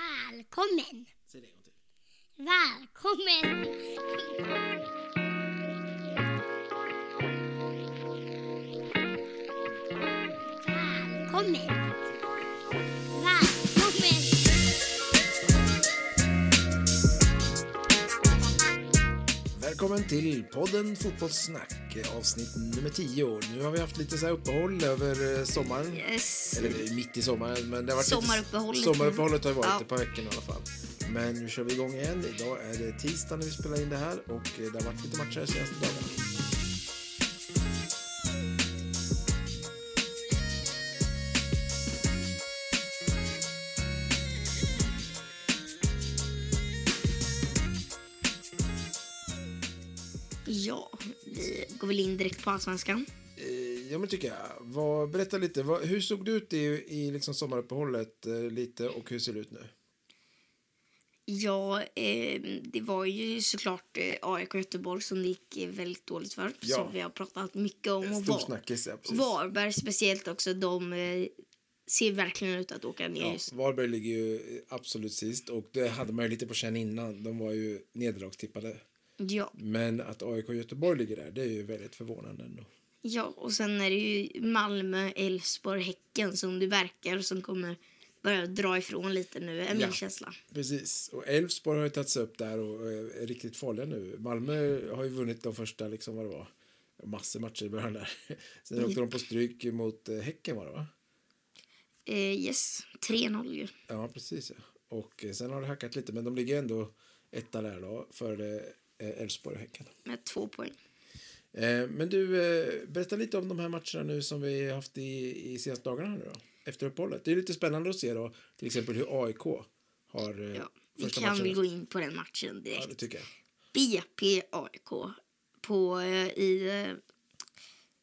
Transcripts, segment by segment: Välkommen! Säg det en gång till. Välkommen! Välkommen! Välkommen! Välkommen till podden Fotbollssnack, avsnitt nummer 10. Nu har vi haft lite så här uppehåll över eh, sommaren. Yes. Eller det är mitt i sommaren, men det har varit lite- Sommaruppehållet. mm. Sommaruppehållet har ju varit Ja. ett par veckor i alla fall. Men nu kör vi igång igen. Idag är det tisdag när vi spelar in det här och eh, det har varit lite matcher de senaste dagarna. Ja, vi går väl in direkt på Allsvenskan. Eh, Ja, men tycker jag. Vad, berätta lite, vad, hur såg det ut i, i liksom sommaruppehållet eh, lite och hur ser det ut nu? Ja, eh, det var ju såklart eh, AIK Göteborg som det gick eh, väldigt dåligt för. Ja. Som vi har pratat mycket om. Och Stor var, snackis, ja, precis. Varberg speciellt också, de eh, ser verkligen ut att åka ner Ja, just Varberg ligger ju absolut sist och det hade man ju lite på känn innan. De var ju nederlagstippade. Ja. Men att AIK och Göteborg ligger där, det är ju väldigt förvånande ändå. ja, och sen är det ju Malmö, Elfsborg, Häcken som det verkar som kommer börja dra ifrån lite nu, är min Ja. känsla. Precis, och Elfsborg har ju tagit sig upp där och eh, är riktigt farliga nu. Malmö har ju vunnit de första, liksom vad det var, massor matcher i början där. Sen åkte de på stryk mot eh, Häcken var det va? Eh, yes, 3-0 ju. Ja, precis. Ja. Och eh, sen har det hackat lite, men de ligger ändå etta där då, före eh, Elfsborg och Häcken. Med två poäng. Eh, Men du, eh, berätta lite om de här matcherna nu som vi har haft i, i senaste dagarna här nu då, efter uppehållet. Det är lite spännande att se då, till exempel hur AIK har eh, Ja, vi första kan matchen. väl gå in på den matchen direkt. Ja, det tycker jag. BP AIK på eh, i eh,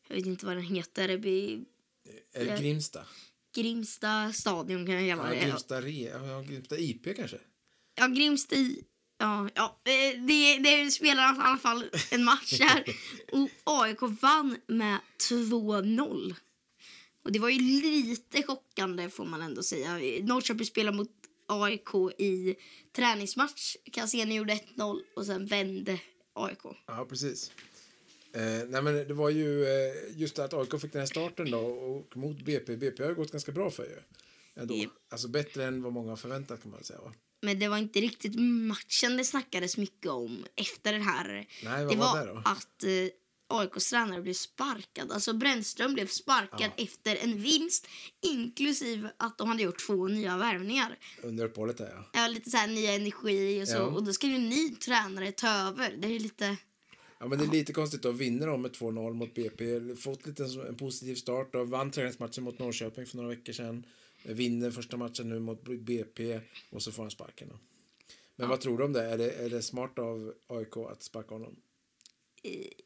jag vet inte vad den heter. Bi- Eh, Ja. Grimsta. Grimsta stadion kan jag kalla Ja, det. Ja, Grimsta, Re, ja, Grimsta IP kanske? ja Grimsta i Ja, ja, eh, det, det spelar i alla fall en match där. Och AIK vann med 2-0. Och det var ju lite chockande får man ändå säga. Norrköping spelade mot AIK i träningsmatch. Cassini gjorde 1-0 och sen vände AIK. Ja, precis. Eh, nej, men det var ju eh, just det att AIK fick den här starten då och mot BP. BP har ju gått ganska bra för ju. Ändå. Japp. Alltså bättre än vad många har förväntat kan man väl säga va? Men det var inte riktigt matchen det snackades mycket om efter den här. Nej, vad det var var det då? att eh, AIKs tränare blev sparkad. Alltså Brännström blev sparkad efter en vinst inklusive att de hade gjort två nya värvningar. Under uppehållet där ja. Ja, lite så här nya energi och så. Ja. Och då ska ju en ny tränare ta över. Det är ju lite... Ja, men det är lite konstigt att vinna de med 2-0 mot BP. Fått lite en, en positiv start och vann träningsmatchen mot Norrköping för några veckor sedan. Vinner första matchen nu mot BP och så får han sparken. Då. Men vad tror du om det? Är det, är det smart av AIK att sparka honom?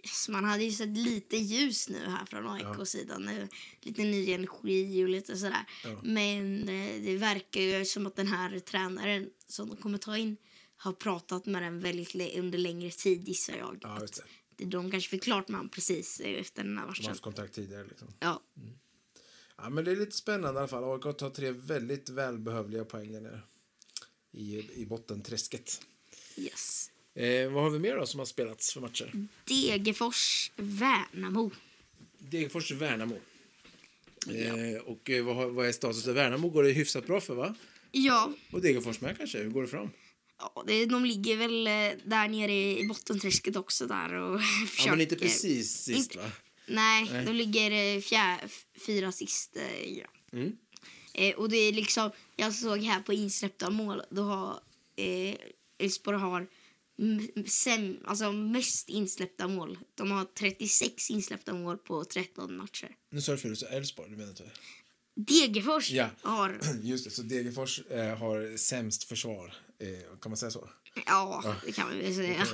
Så man hade ju sett lite ljus nu här från AIKs sida. Nu, lite ny energi och lite sådär. Ja. Men eh, det verkar ju som att den här tränaren som de kommer ta in har pratat med den väldigt le- under längre tid gissar jag. Ja, just det. Att De kanske fick klart med honom precis eh, efter den här De har matchen. haft kontakt tidigare. Liksom. Ja, Ja, men det är lite spännande i alla fall. AIK tar tre väldigt välbehövliga poäng där nere i, i bottenträsket. yes. Eh, vad har vi mer då som har spelats för matcher? Degerfors, Värnamo. Degerfors och Värnamo. Eh, och eh, vad, har- vad är status för Värnamo? Går det hyfsat bra för va? Ja, Och Degerfors med kanske? Hur går det fram? ja det, de ligger väl eh, där nere i bottenträsket också där och försöker. Ja, men inte precis sist inte- va? Nej, de ligger eh, fjär, f- fyra sist. eh, Ja. Mm. Eh, och det är liksom, jag såg här på insläppta mål, då har eh, Elfsborg har m- sem, alltså mest insläppta mål. De har 36 insläppta mål på 13 matcher. Nu sa du fel, du sa Elfsborg, du menar inte? Degerfors Ja. har, Just det, så Degerfors eh, har sämst försvar, eh, kan man säga så? ja, det kan man väl säga. Eh,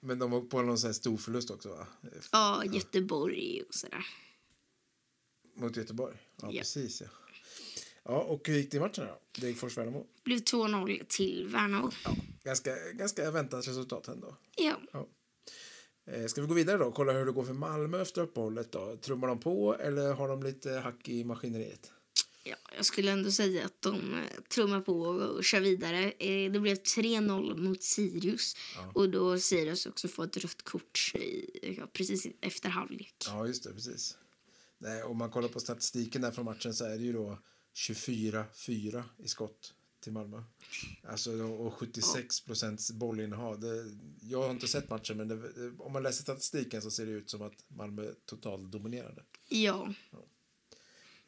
Men de var på någon sån här stor förlust också va? Eh, Ja, Göteborg och sådär. Mot Göteborg? Ja, Ja. precis ja. Ja, och hur gick det i matchen då? Degerfors-Värnamo? Blev 2-0 till Värnamo. Ja. Ganska, ganska väntat resultat ändå. ja. Ja. Eh, Ska vi gå vidare då och kolla hur det går för Malmö efter uppehållet då? Trummar de på eller har de lite hack i maskineriet? Ja, jag skulle ändå säga att de eh, trummar på och kör vidare. Eh, Det blev 3-0 mot Sirius. Och då Sirius också får ett rött kort i, ja, precis efter halvlek. Ja, just det, precis. Nej, om man kollar på statistiken där från matchen så är det ju då 24-4 i skott till Malmö. Alltså, då- och 76 procents bollinnehav. Det, jag har inte sett matchen, men det, om man läser statistiken så ser det ut som att Malmö totalt dominerade. Ja,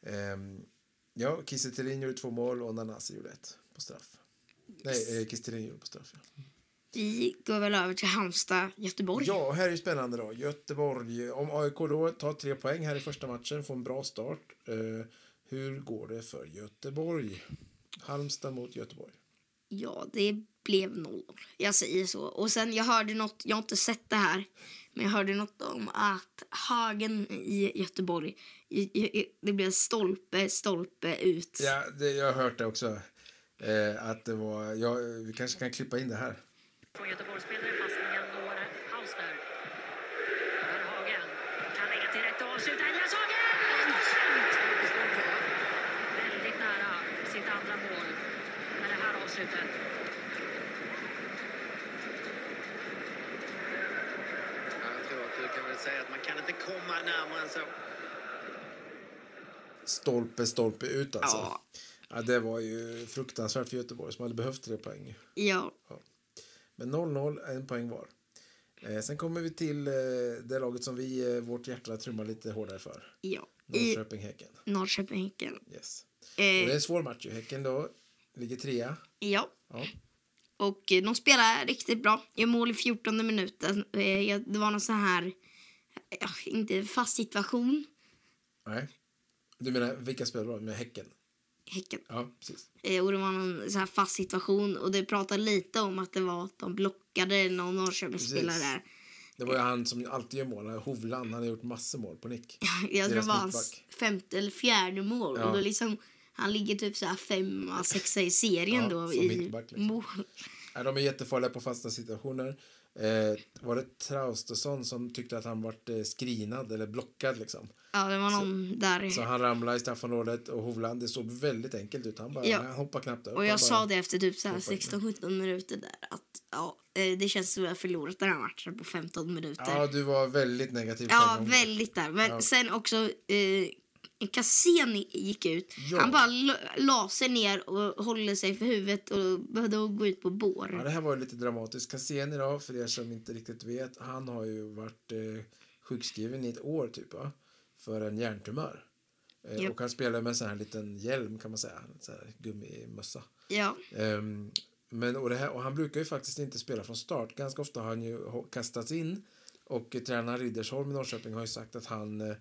Ehm, ja, Kiese Thelin gjorde två mål och Nanasi gjorde ett på straff. Nej, eh, Kiese Thelin gjorde på straff. Ja. vi går väl över till Halmstad, Göteborg. Ja, och här är ju spännande då. Göteborg, om AIK då tar tre poäng här i första matchen, får en bra start. Eh, hur går det för Göteborg? Halmstad mot Göteborg. Ja, det blev 0 Jag säger så. Och sen jag hörde något, jag har inte sett det här, men jag hörde något om att Hagen i Göteborg, i, i, i, det blev stolpe, stolpe ut. Ja, det, jag har hört det också. Eh, att det var, ja, vi kanske kan klippa in det här. Från Göteborgsspelare passningen når Hausner. Där har Hagen. Kan lägga till rätt och avsluta. Elias Hagen! Skönt! Väldigt nära sitt andra mål med det här avslutet. Jag tror att du kan väl säga att man kan inte komma närmare än så. Stolpe, stolpe ut alltså. Ja. Ja. det var ju fruktansvärt för Göteborg som hade behövt tre poäng. ja. Men 0-0, en poäng var. Eh, sen kommer vi till eh, det laget som vi, eh, vårt hjärta trummar lite hårdare för. ja. I Norrköping-Häcken. Norrköping-Häcken. Yes. Och det är Eh, en svår match ju. Häcken då ligger trea. ja. Ja. Och eh, de spelar riktigt bra. Jag mål i 14 minuten. Eh, jag, det var någon sån här, eh, ja, inte fast situation. Nej. Du menar vilka spelar bra? Med Häcken? Häcken. Ja, precis. Eh, Och det var någon så här fast situation. Och det pratade lite om att det var att de blockade någon Norrköpingsspelare Precis. där. Det var ju han som alltid gör mål. Hovland, han har gjort massor mål på nick. Jag tror Deras det var hans mittback. femte eller fjärde mål. Ja. Och då liksom, han ligger typ så här femma, sexa i serien Ja, då som i mittback liksom. mål. Ja, de är jättefarliga på fasta situationer. Eh, var det Traustason som tyckte att han vart eh, screenad eller blockad liksom? Ja, det var någon där. Så han ramlade i straffområdet och Hovland, det såg väldigt enkelt ut. Han, bara, Ja. han hoppade knappt upp. och Han bara, jag sa det efter typ så här hoppar in. 16-17 minuter där att ja, eh, det känns som att jag förlorat den här matchen på 15 minuter. Ja, du var väldigt negativ. Ja, till honom. väldigt där. Men Ja. sen också... Eh, Cassini gick ut. Ja. Han bara la- la sig ner och håller sig för huvudet och behövde gå ut på bår. Ja, det här var ju lite dramatiskt. Cassini idag, för er som inte riktigt vet, han har ju varit eh, sjukskriven i ett år typ, va? för en hjärntumör. Eh, Japp. Och han spelar med en sån här liten hjälm kan man säga, en sån här gummimössa. ja. Ehm, men, och, det här, och han brukar ju faktiskt inte spela från start. Ganska ofta har han ju ho- kastats in och eh, tränaren Riddersholm i Norrköping har ju sagt att han, eh,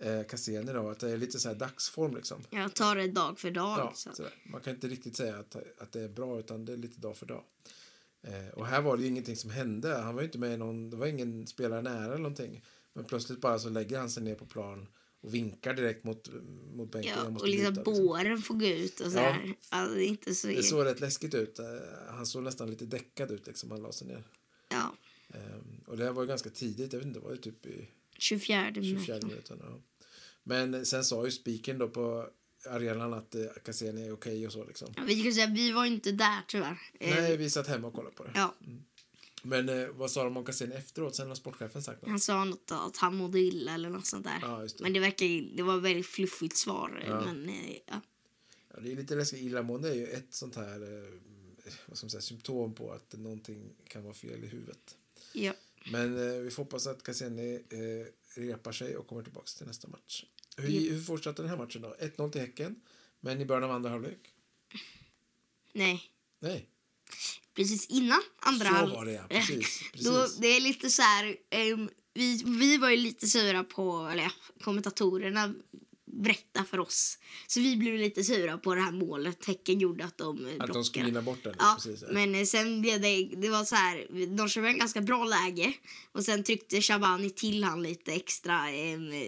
eh, Cassini då, att det är lite så här dagsform liksom. Jag tar det dag för dag. liksom. Ja, så. sådär. Man kan inte riktigt säga att, att det är bra, utan det är lite dag för dag. Eh, och här var det ju ingenting som hände. Han var ju inte med i någon, det var ingen spelare nära eller någonting. Men plötsligt bara så lägger han sig ner på plan och vinkar direkt mot, mot bänken. Ja, Jag måste och liksom byta, liksom. båren får gå ut och så Ja. här. Alltså, det är inte så... Det såg rätt läskigt ut. Eh, Han såg nästan lite däckad ut liksom. Han la sig ner. Ja, Eh, och det här var ju ganska tidigt. Jag vet inte, det var ju typ i 24 24 minuter. minuten. Ja. Men sen sa ju spiken då på arenan att eh, Cassini är okej och så liksom. Ja, Vi kan säga vi var inte där tyvärr. Eh, Nej, vi satt hemma och kollade på det. Ja, Men eh, vad sa de om Cassini efteråt? Sen har sportchefen sagt något. han sa något att han mådde illa eller något sånt där. Ja, just det. Men det verkar ju- det var ett väldigt fluffigt svar. Men eh, ja. Ja, det är lite läskigt. Illamående är ju ett sånt här eh, vad ska man säga, symptom på att någonting kan vara fel i huvudet. ja. Men eh, vi får hoppas att Cassini eh, repar sig och kommer tillbaka till nästa match. Hur, Ja. hur fortsatte den här matchen då? 1-0 till Häcken, men i början av andra halvlek? Nej. Nej, precis innan andra så halv- var det ja. Precis, precis. Då, det är lite så här, ehm, vi, vi var ju lite sura på, eller ja, kommentatorerna berättade för oss. Så vi blev lite sura på det här målet. Häcken gjorde att de eh, att blockade. de skulle vinna bort den. Ja, precis, ja. men eh, sen blev det, det var så här, de körde en ganska bra läge och sen tryckte Shabani till han lite extra ehm, eh,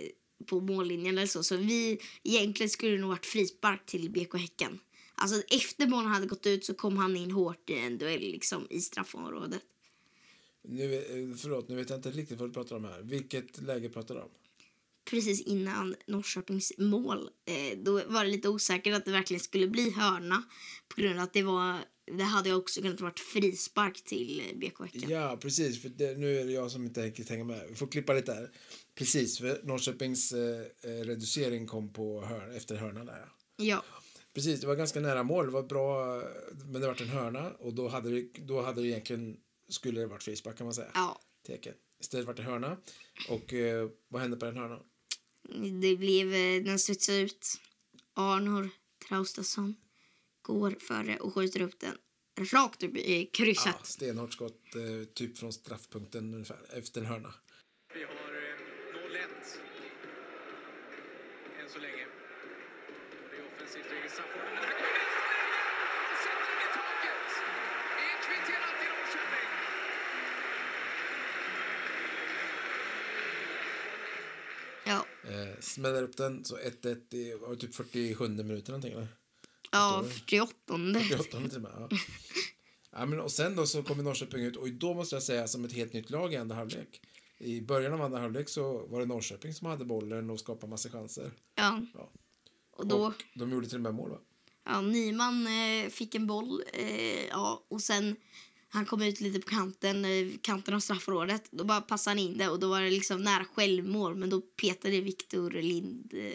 på mållinjen eller så. Så vi, egentligen skulle det nog varit frispark till BK Häcken. Alltså efter bollen hade gått ut så kom han in hårt i en duell liksom i straffområdet. Nu, eh, förlåt, nu vet jag inte riktigt vad du pratar om här. Vilket läge pratar du om? precis innan Norrköpings mål. Eh, då var det lite osäkert att det verkligen skulle bli hörna på grund av att det var det hade också kunnat varit frispark till eh, BK Häcken. Ja, precis. För det, nu är det jag som inte riktigt hänger med. Vi får klippa lite här. Precis, för Norrköpings eh, eh, reducering kom på hör, efter hörnan där. ja. Ja. Precis, det var ganska nära mål. Det var bra, eh, men det var en hörna och då hade det, då hade det egentligen skulle det varit frispark kan man säga. ja. Teken. Istället vart det hörna. Och eh, vad hände på den hörnan? Det blev, eh, den studsar ut. Arnor Traustason går före och skjuter upp den rakt upp i Ja, krysset. stenhårt skott, eh, typ från straffpunkten ungefär, efter en hörna. Vi har eh, 0-1. Än så länge. Det är offensivt läge. Safford, men här kommer vänsterläge! Och sätter den i taket! Det är kvitterat i Norrköping. Ja. Eh, smäller upp den, så 1-1 i var det typ 47 minuter någonting eller? Ja, 48. 48 till och med, ja. ja, men, Och sen då så kommer Norrköping ut och då måste jag säga som ett helt nytt lag i andra halvlek. I början av andra halvlek så var det Norrköping som hade bollen och skapade massa chanser. Ja. Ja. Och då, Och de gjorde till och med mål va? ja, Nyman eh, fick en boll. Eh, ja, och sen han kom ut lite på kanten, eh, kanten av straffområdet. Då bara passade han in det och då var det liksom nära självmål. Men då petade Viktor Lind eh,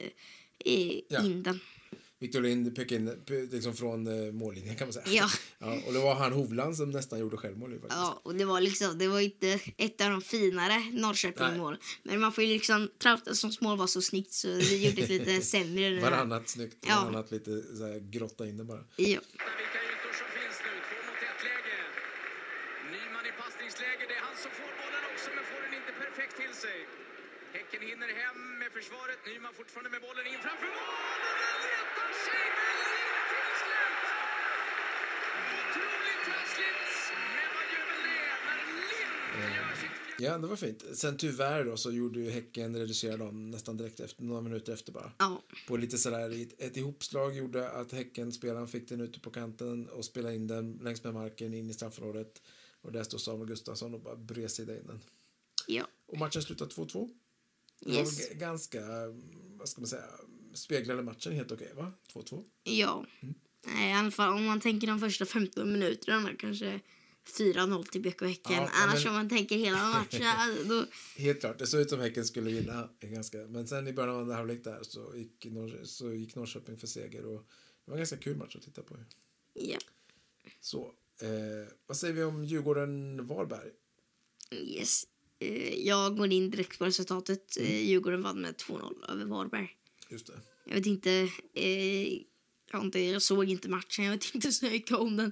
eh, Ja. in den. Victor Lind pekade in pe- liksom från eh, mållinjen kan man säga. Ja. ja och det var han Hovland som nästan gjorde självmål ju faktiskt. Ja, och det var liksom, det var inte ett av de finare Nej. Norrköping-mål. Men man får ju liksom, Traustassons mål var så snyggt så vi gjorde ett lite sämre. nu. Varannat snyggt, Ja. varannat lite så här, grotta in det bara. Ja. Titta vilka ytor som finns nu. Två mot ett läge. Nyman i passningsläge. Det är han som får bollen också, men får den inte perfekt till sig. Häcken hinner hem med försvaret. Nyman fortfarande med bollen in framför mål! Och där letar sig Melin till slut! Otroligt trassligt, men vad gör väl det när Lind gör sitt Ja, det var fint. Sen tyvärr då så gjorde ju Häcken reducerade dem nästan direkt efter, några minuter efter bara. ja. På lite sådär, ett, ett ihopslag gjorde att Häckenspelaren fick den ute på kanten och spelade in den längs med marken in i straffområdet. Och där stod Samuel Gustafsson och bara bredsida in den. Ja. Och matchen slutade 2-2. Det var Yes. g- ganska, vad ska man säga, speglade matchen helt okej va? 2-2. Ja. Mm. Nej, I alla fall om man tänker de första 15 minuterna kanske 4-0 till BK Häcken. Ja, ja, Annars men- om man tänker hela matchen då... Helt klart, det såg ut som Häcken skulle vinna. Ganska. Men sen i början av andra halvlek där så gick, Norr, så gick Norrköping för seger och det var en ganska kul match att titta på. ju. Ja. Så, eh, vad säger vi om Djurgården-Varberg? Yes. Eh, Jag går in direkt på resultatet. Mm. Djurgården vann med 2-0 över Varberg. Just det. Jag vet inte... Eh, jag, har inte jag såg inte matchen, jag vet inte så mycket om den.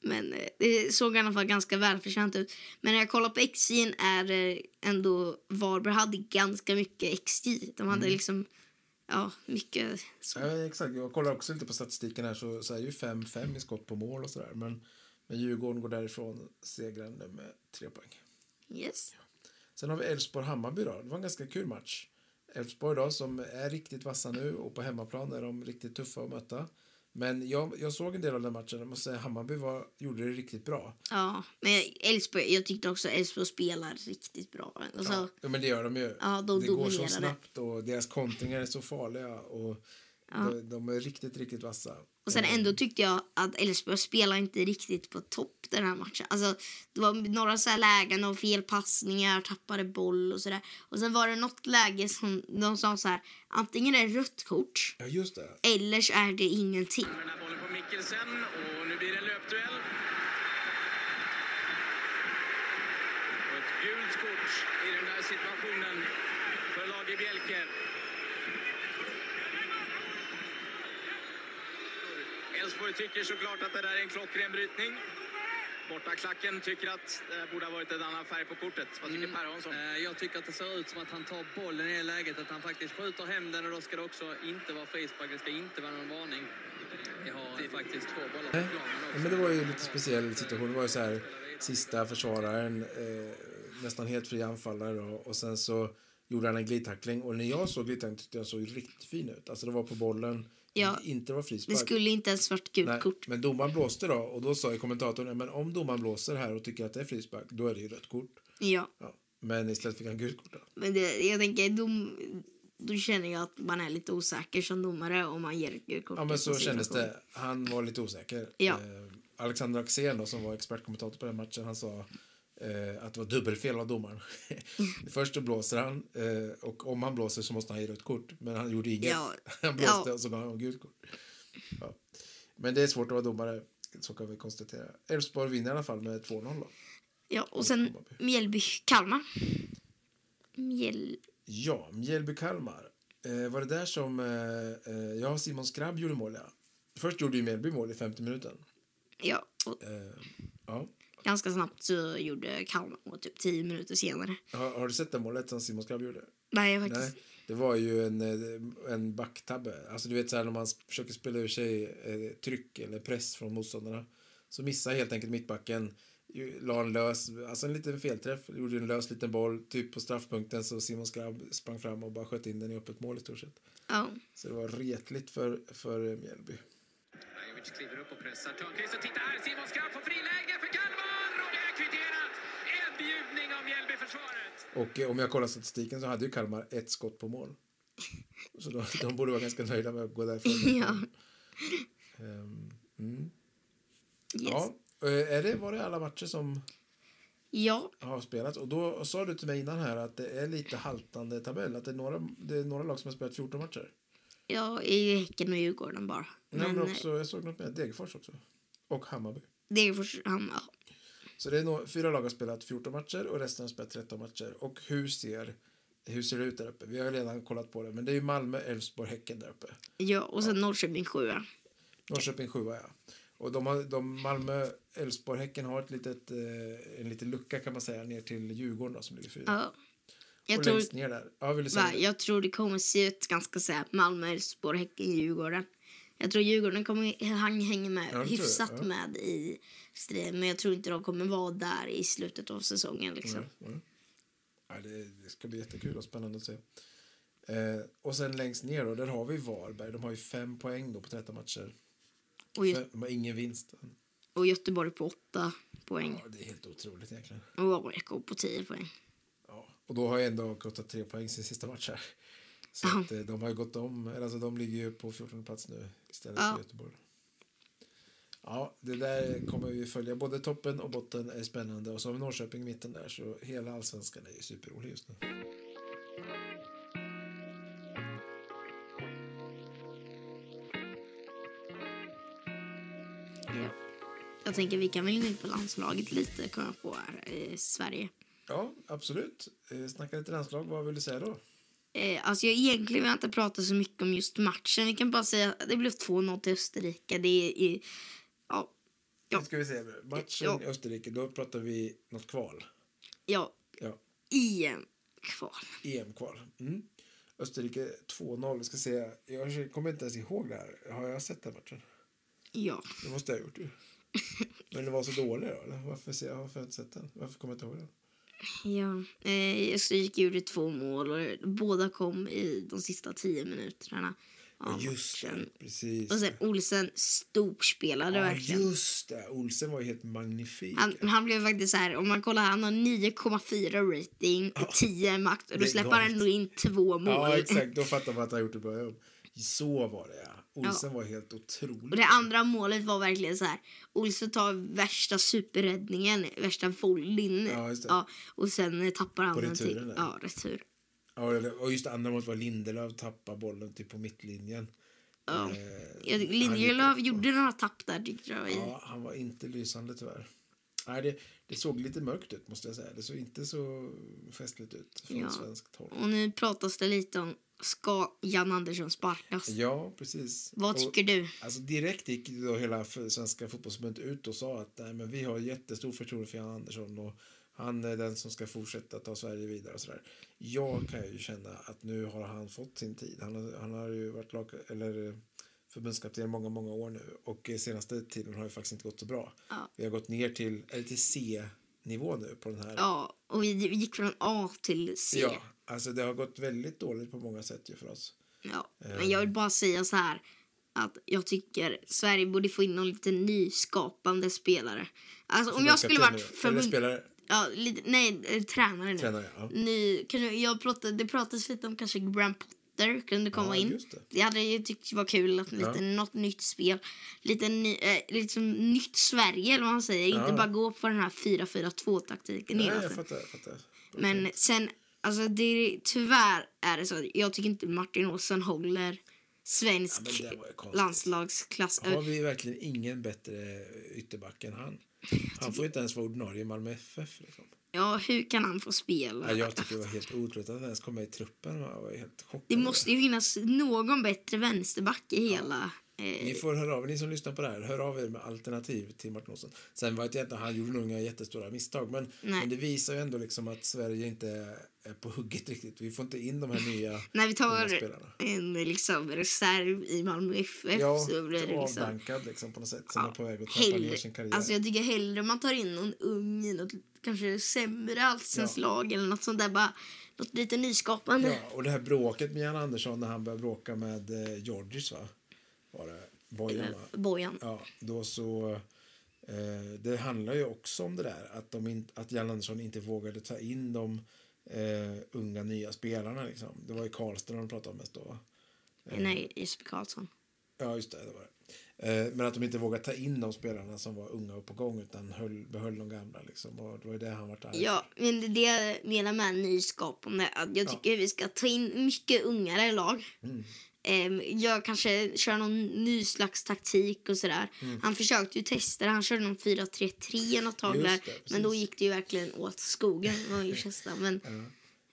Men eh, det såg i alla fall ganska välförtjänt ut. Men när jag kollar på XJ är eh, ändå... Varberg hade ganska mycket XJ. De hade liksom... Ja, mycket... Så. Ja, exakt. Jag kollar också lite på statistiken här så, så är det ju 5-5 i skott på mål och sådär. Men, men Djurgården går därifrån segrande med tre poäng. Yes. Sen har vi Elfsborg-Hammarby då. Det var en ganska kul match. Elfsborg då som är riktigt vassa nu och på hemmaplan är de riktigt tuffa att möta. Men jag, jag såg en del av den matchen. Jag måste säga Hammarby var, gjorde det riktigt bra. Ja, men Elfsborg, jag tyckte också Elfsborg spelar riktigt bra. Alltså, Ja, ja. men det gör de ju. Ja, de det går så dominerade. snabbt och deras kontringar är så farliga. Och de, de är riktigt, riktigt vassa. Och sen Eh, ändå tyckte jag att Elfsborg spelar inte riktigt på topp den här matchen. Alltså, det var några så här lägen och fel passningar, tappade boll och sådär. Och sen var det något läge som de sa så här, antingen är det rött kort Ja, just det. eller så är det ingenting. Med den här bollen på Mikkelsen och nu blir det en löpduell. Och ett gult kort i den där situationen för Lage Bjelke. Elfsborg tycker såklart att det där är en klockren brytning. Bortaklacken tycker att det borde ha varit en annan färg på kortet. Vad tycker Per Hansson? Eh, Jag tycker att det ser ut som att han tar bollen i det läget, att han faktiskt skjuter hem den och då ska det också inte vara frispark, det ska inte vara någon varning. Vi har eh, faktiskt två bollar på Nej, planen Ja, men det var ju en lite speciell situation. Det var ju så här, sista försvararen, eh, nästan helt fri anfallare då, och sen så gjorde han en glidtackling och när jag såg glidtacklingen tyckte jag den såg riktigt fin ut. Alltså det var på bollen, Ja. inte var Det frispark. skulle inte ens varit gult Nej, kort. men domaren blåste då och då sa ju kommentatorn, "Ja, men om domaren blåser här och tycker att det är frispark, då är det ju rött kort. Ja, Ja. Men istället fick han gult kort då. men det, jag tänker dom, då känner jag att man är lite osäker som domare om man ger ett gult kort. Ja, i men så sån kändes situation. det. Han var lite osäker. Ja. Eh, Alexander Axén, då, som var expertkommentator på den matchen, han sa eh, att det var dubbelfel av domaren. Först då blåser han, eh, och om han blåser så måste han ge rött kort. Men han gjorde inget. Ja. Han blåste Ja. och så gav han gult kort. Ja. Men det är svårt att vara domare, så kan vi konstatera. Elfsborg vinner i alla fall med 2-0. Då. Ja, och sen Mjällby-Kalmar. Mjäll... Ja, Mjällby-Kalmar. Eh, var det där som... Eh, eh, jag och Simon Skrabb gjorde mål, ja. Först gjorde ju Mjällby mål i 50 minuten. Ja, och Eh, ja. ganska snabbt så gjorde Kalmar och typ tio minuter senare. Har, har du sett det målet som Simon Skrabb gjorde? Nej, Nej, faktiskt. det var ju en, eh, en backtabbe. Alltså du vet så här när man sp- försöker spela ur sig eh, tryck eller press från motståndarna. Så missar helt enkelt mittbacken. Ju- La en lös, alltså en liten felträff. Gjorde en lös liten boll, typ på straffpunkten så Simon Skrabb sprang fram och bara sköt in den i öppet mål i stort sett. Ja. Så det var retligt för, för eh, Mjällby. Lajovic kliver upp och pressar Törnqvist och titta här, Simon Skrabb får friläge för Kalmar och det är kvitterat! En bjudning av Mjällbyförsvaret. Och eh, om jag kollar statistiken så hade ju Kalmar ett skott på mål. Så då, de borde vara ganska nöjda med att gå därifrån. Ja. Ehm, mm. Yes. Ja, eh, är det, var det alla matcher som ja. har spelats? Och då sa du till mig innan här att det är lite haltande tabell, att det är några, det är några lag som har spelat 14 matcher. Jag är ju Häcken och Djurgården bara. Nej, men eh, också, jag såg något med Degerfors också. Och Hammarby. Degerfors, han, ja. Så det är nå- fyra lag har spelat 14 matcher och resten har spelat 13 matcher. Och hur ser, hur ser det ut där uppe? Vi har redan kollat på det, men det är ju Malmö, Elfsborg, Häcken där uppe. ja. Och sen Norrköping sjua. Norrköping sjua, ja. Och de har, de Malmö, Elfsborg, Häcken har ett litet, eh, en liten lucka kan man säga ner till Djurgården då, som ligger fyra. Ja. Jag och tror, längst ner där. Ja, vill du säga va, det? jag tror det kommer se ut ganska så här Malmö, Elfsborg, Häcken, Djurgården. Jag tror Djurgården kommer han hänger med tror jag, hyfsat ja. med i striden. Men jag tror inte de kommer vara där i slutet av säsongen liksom. Mm, mm. Ja, det, det ska bli jättekul och spännande att se. Eh, och sen längst ner då, där har vi Varberg. De har ju fem poäng då på 13 matcher. Och, Gö- Fem, de har ingen vinst. och Göteborg på åtta poäng. Ja, det är helt otroligt egentligen. Och AIK på tio poäng. Ja. Och då har jag ändå gått tre poäng sin sista match här. Så Ja. att, eh, de har ju gått om, eller alltså de ligger ju på 14 plats nu istället Ja. för Göteborg. Ja, det där kommer vi följa. Både toppen och botten är spännande. Och så har vi Norrköping i mitten där, så hela allsvenskan är ju superrolig just nu. Ja. Jag tänker vi kan väl gå in på landslaget lite, kommer jag på här, i Sverige. Ja, absolut. Eh, snacka lite landslag, vad vill du säga då? Eh, alltså jag egentligen vill jag inte prata så mycket om just matchen. Vi kan bara säga att det blev 2-0 till Österrike. Det är, är, ja, Ja. Nu ska vi se. Matchen Ja. i Österrike, då pratar vi något kval. ja, Ja, igen kval. EM-kval. Mm. Österrike 2-0. Ska se. Jag kommer inte ens ihåg det här. Har jag sett den matchen? Ja, Det måste jag ha gjort. ju. Men det var så dålig då, eller? Varför, ser jag, varför har jag inte sett den? Varför kommer jag inte ihåg den? ja. Eh, Österrike gjorde två mål och båda kom i de sista tio minuterna av just matchen. det, precis. Och sen Olsen storspelade ja, verkligen. just det. Olsen var ju helt magnifik. Han, han blev faktiskt så här, om man kollar, han har 9,4 rating och 10 max och Oh, det då är släpper han galet. ändå in två mål. ja, exakt. Då fattar man att han har gjort ett bra jobb. Så var det, ja. Olsen var helt otrolig. Och det andra målet var verkligen så här. Olsson tar värsta superräddningen, värsta volleyn. Ja, just det. och sen eh, tappar han På den returen till. där. Ja, retur. Ja, eller- och just det andra målet var Lindelöf tappade bollen typ på mittlinjen. Ja. Eh, Jag tycker han gick Lindelöf upp och- gjorde några tapp där tyckte jag. i- Ja, han var inte lysande tyvärr. Nej, det, det såg lite mörkt ut måste jag säga. Det såg inte så festligt ut från Ja. svenskt håll. Och nu pratas det lite om, ska Jan Andersson sparkas? Ja, precis. Vad Och- tycker du? Alltså direkt gick ju då hela f- svenska fotbollsförbundet ut och sa att nej, men vi har jättestor förtroende för Jan Andersson och han är den som ska fortsätta ta Sverige vidare och sådär. Jag kan ju känna att nu har han fått sin tid. Han har, han har ju varit lag, eller eh, förbundskapten många, många år nu och eh, senaste tiden har ju faktiskt inte gått så bra. Ja. Vi har gått ner till, eller till C-nivå nu på den här. Ja, och vi gick från A till C. Ja, alltså det har gått väldigt dåligt på många sätt ju för oss. Ja, men Ehm. jag vill bara säga så här att jag tycker Sverige borde få in någon lite nyskapande spelare. Alltså om jag skulle varit Eller förbund... spelare, Ja, lite, nej, eh, tränare nu. tränare, ja. Ny, kanske, jag pratade, det pratas lite om kanske Graham Potter Potter kunde komma Ja, in. just det. Det hade jag ju tyckt var kul, att lite, Ja. något nytt spel. Lite ny, eh, liksom nytt Sverige eller vad man säger. Ja. Inte bara gå på den här 4-4-2-taktiken Nej, hela jag tiden. fattar. Jag fattar. Men sen, alltså det, tyvärr är det så. att Jag tycker inte Martin Olsson håller Ja, svensk men det var ju konstigt. landslagsklass. Har vi verkligen ingen bättre ytterback än han? Han får ju inte ens vara ordinarie i Malmö FF. Liksom. Ja, hur kan han få spela? Ja, jag tycker det var helt otroligt att han ens kom med i truppen. Jag var ju helt chockad. Det måste ju finnas någon bättre vänsterback i hela... Eh, Ni får höra av er, ni som lyssnar på det här, hör av er med alternativ till Martin Olsson. Sen var det inte, han gjorde nog inga jättestora misstag, men, Nej. men det visar ju ändå liksom att Sverige inte är på hugget riktigt. Vi får inte in de här nya när vi unga tar spelarna. en liksom, reserv i Malmö FF Ja, så blir det liksom... avdankad liksom på något sätt, som Ja, är på väg att tappa ner Hellre, sin karriär. alltså jag tycker hellre man tar in någon ung i något kanske sämre allsvenskt Ja. lag eller något sånt där bara något lite nyskapande. Ja, och det här bråket med Jan Andersson när han började bråka med eh, Georgis, va? Var det? Bojan, va? Eller Bojan. Ja, då så... Eh, det handlar ju också om det där att, de in, att Jan Andersson inte vågade ta in de eh, unga nya spelarna. Liksom. Det var ju Karlström de pratade om mest då. va? Nej, Jesper Karlsson. Ja, just det. det, var det. Eh, men att de inte vågade ta in de spelarna som var unga och på gång utan höll, behöll de gamla. Liksom. Och det var ju det han vart arg Ja, men det är det jag menar med nyskapande. Att jag tycker vi ska ta in mycket ungare lag. Mm. Ehm, jag kanske kör någon ny slags taktik och sådär. Mm. Han försökte ju testa det. Han körde någon 4-3-3 något tag Just där. det, precis. men då gick det ju verkligen åt skogen. Det var ju testa. Men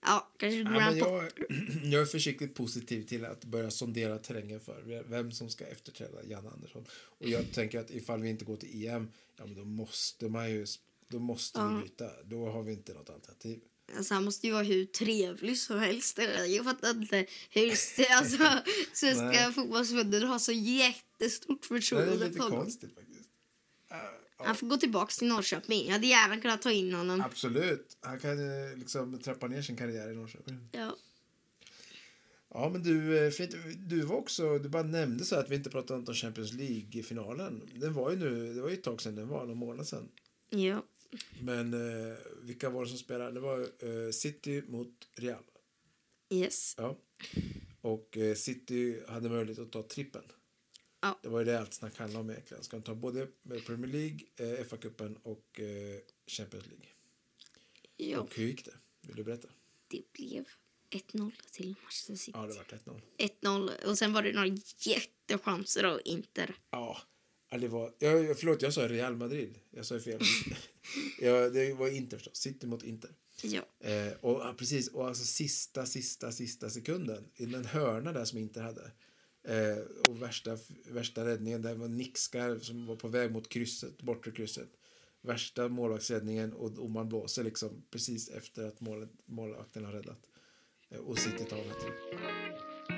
ja, kanske Ja, går men han på. jag, jag är försiktigt positiv till att börja sondera terrängen för vem som ska efterträda Jan Andersson. Och jag tänker att ifall vi inte går till EM, ja men då måste man ju, då måste vi byta. Då har vi inte något alternativ. Alltså, han måste ju vara hur trevlig som helst. Eller, Jag fattar inte hur alltså, Svenska Nej. fotbollsförbundet har så jättestort Det är förtroende lite för honom. konstigt faktiskt. Han får gå tillbaka till Norrköping. Jag hade gärna kunnat ta in honom. Absolut, han kan eh, liksom trappa ner sin karriär i Norrköping. Ja. Ja men du, eh, fint. du var också, du bara nämnde så här att vi inte pratade om Champions League-finalen. Den var ju nu, det var ju ett tag sedan den var, någon månad sedan. ja. Men eh, vilka var det som spelade? Det var eh, City mot Real. Yes. Ja. Och eh, City hade möjlighet att ta trippen. Ja. Det var ju det allt snack handlade om egentligen. Ska de ta både Premier League, eh, FA-cupen och eh, Champions League? ja. Och hur gick det? Vill du berätta? Det blev 1-0 till Manchester City. Ja, det var 1-0. 1-0. Och sen var det några jättechanser av Inter. Ja, ja, det var... Jag, jag- förlåt, jag sa Real Madrid. Jag sa ju fel. ja, det var Inter förstås. City mot Inter. Ja. Eh, och ja, precis, och alltså sista, sista, sista sekunden. I den hörna där som inte hade. Eh, och värsta, värsta räddningen, där var nickskarv som var på väg mot krysset, bortre krysset. Värsta målvaktsräddningen och, och man blåser liksom precis efter att målet, målvakten har räddat. Eh, och City tar det.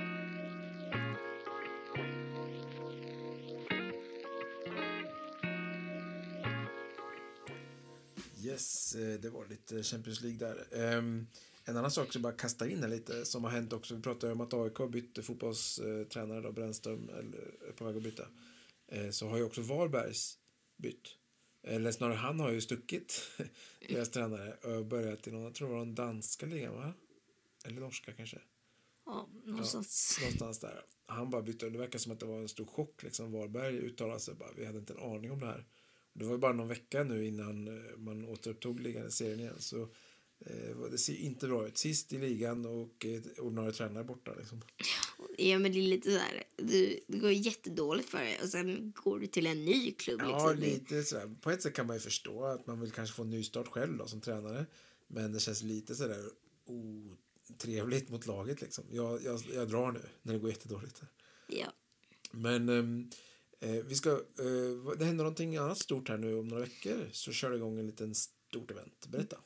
Yes, eh, det var lite Champions League där. Ehm, En annan sak som bara kastar in här lite som har hänt också. Vi pratade ju om att AIK bytte fotbollstränare då, Brännström, eller är på väg att byta. Eh, Så har ju också Varbergs bytt. Eh, Eller snarare han har ju stuckit deras tränare och börjat i någon, jag tror det var den danska ligan va? Eller norska kanske. ja någonstans. Någonstans där. Han bara bytte, det verkar som att det var en stor chock liksom. Varberg uttalade sig bara, vi hade inte en aning om det här. Det var ju bara någon vecka nu innan eh, man återupptog ligan, serien igen. Så eh, var- det ser inte bra ut. Sist i ligan och eh, ordinarie tränare borta liksom. Ja, men det är lite sådär. Du, det går jättedåligt för dig och sen går du till en ny klubb. Ja, liksom. lite sådär. På ett sätt kan man ju förstå att man vill kanske få en nystart själv då som tränare. Men det känns lite sådär otrevligt mot laget liksom. Jag, jag, jag drar nu när det går jättedåligt. Här. Ja. Men ehm, eh, vi ska, eh, vad- det händer någonting annat stort här nu om några veckor så kör det igång en liten stort event. Berätta.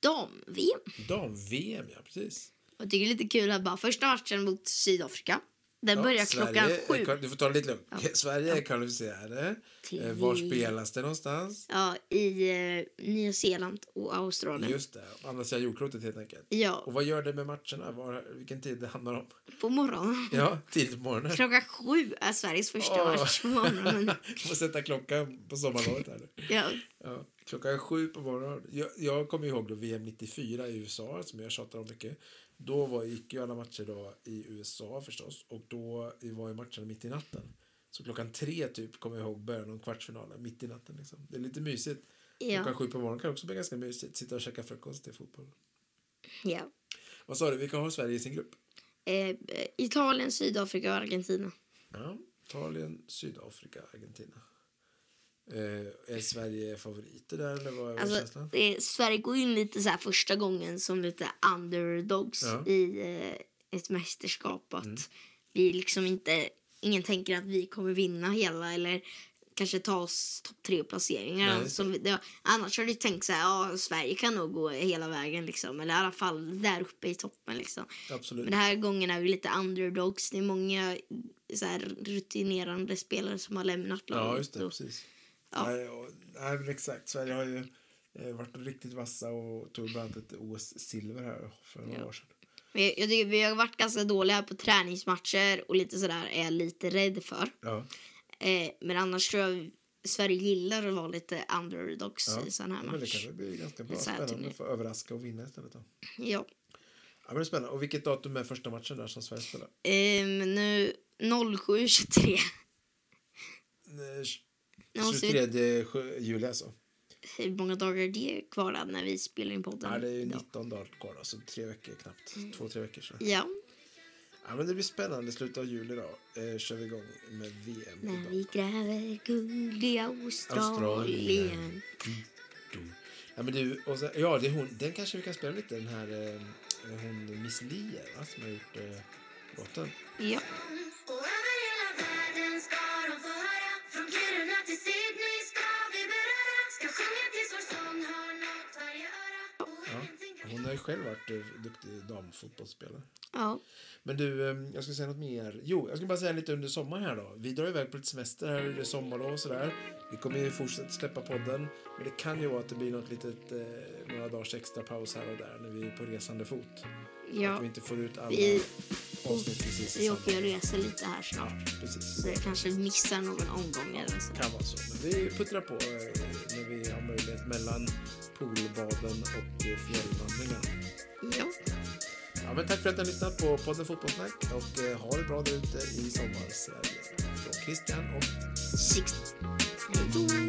Dam-VM. Dam-VM, ja precis. Jag tycker det är lite kul att bara första matchen mot Sydafrika. Den Ja, börjar Sverige klockan är sju. kval- Du får ta det lite lugnt. Sverige är kvalificerade. Till- Eh, var spelas det någonstans? Ja, i eh, Nya Zeeland och Australien. Just det, andra sidan jordklotet helt enkelt. Och Ja, vad gör det med matcherna? Var, vilken tid det handlar om? på morgonen. Ja, tidigt på morgonen. Klockan sju är Sveriges första Åh. match på morgonen. får sätta klockan på sommarlovet här nu. Ja, Ja, klockan sju på morgonen. Jag, jag kommer ihåg då VM 94 i USA som jag tjatar om mycket. Då var, gick ju alla matcher då i USA förstås och då var ju matcherna mitt i natten. Så klockan tre typ kommer jag ihåg början av kvartsfinalen mitt i natten. Liksom. Det är lite mysigt. Klockan Ja. sju på morgonen kan också bli ganska mysigt. Sitta och käka frukost till fotboll. ja. Vad sa du, vilka har Sverige i sin grupp? Eh, Italien, Sydafrika och Argentina. Ja, Italien, Sydafrika, Argentina. Eh, är Sverige favoriter där eller vad är vad är Alltså, känslan? eh, Sverige går in lite så här första gången som lite underdogs Ja. Mm. i eh, ett mästerskap. Att vi liksom inte, ingen tänker att vi kommer vinna hela eller kanske ta oss topp tre placeringar. Nej. Så vi, det, annars har du tänkt så här, ja, Sverige kan nog gå hela vägen liksom. Eller i alla fall där uppe i toppen liksom. Absolut. Men den här gången är vi lite underdogs. Det är många så här, rutinerande spelare som har lämnat laget. Ja, just det. och- Mm, Precis. Ja. Nej, och, nej, men exakt. Sverige har ju eh, varit riktigt vassa och tog bland annat ett OS-silver här för några Ja. år sedan. Men jag, jag tycker vi har varit ganska dåliga på träningsmatcher och lite sådär är jag lite rädd för. Ja. Eh, men annars tror jag Sverige gillar att vara lite underdogs Ja. i sådana här ja, men det match. kanske blir ganska bra. Så här Spännande turné. att få överraska och vinna istället. Då. Ja, Ja. men det är spännande. Och vilket datum är första matchen där som Sverige spelar? Eh, men nu 07.23. Eh, Nu måste vi- 23 sju- juli alltså. Hur många dagar är det kvar då när vi spelar in podden? Ja, det är ju idag? 19 dagar kvar då, så tre veckor knappt. Mm. Två, tre veckor sedan. Ja, Ja, men det blir spännande. I slutet av juli då eh, kör vi igång med VM när idag. vi gräver guld i Australien. Australien. Ja, men du, och så, ja, det är hon, den kanske vi kan spela lite, den här eh, hon Miss Li, va, som har gjort eh, låten. Ja. Och över hela världen ska de få höra Från Kiruna till Sydney ska vi beröra Ska sjunga tills vår sång har nått varje öra Och Ja. ingenting kan Hon har ju själv varit eh, duktig damfotbollsspelare. ja. Men du, eh, jag ska säga något mer. Jo, jag ska bara säga lite under sommaren här då. Vi drar iväg på lite semester här, det är sommarlov och sådär. Vi kommer ju fortsätta släppa podden. Men det kan ju vara att det blir något litet, eh, några dagars extra paus här och där när vi är på resande fot. Att vi ja. inte får ut alla Vi- avsnitt precis i Vi samma. åker och reser lite här Ja, snart. precis. Så jag kanske missar någon omgång eller så. kan vara så. Men vi puttrar på eh, när vi har möjlighet mellan poolbaden och eh, fjällvandringarna. Ja. Ja, men tack för att ni har lyssnat på podden Fotbollssnack och eh, ha det bra där ute i sommar. Sverige. Från Christian och Six. Hej då.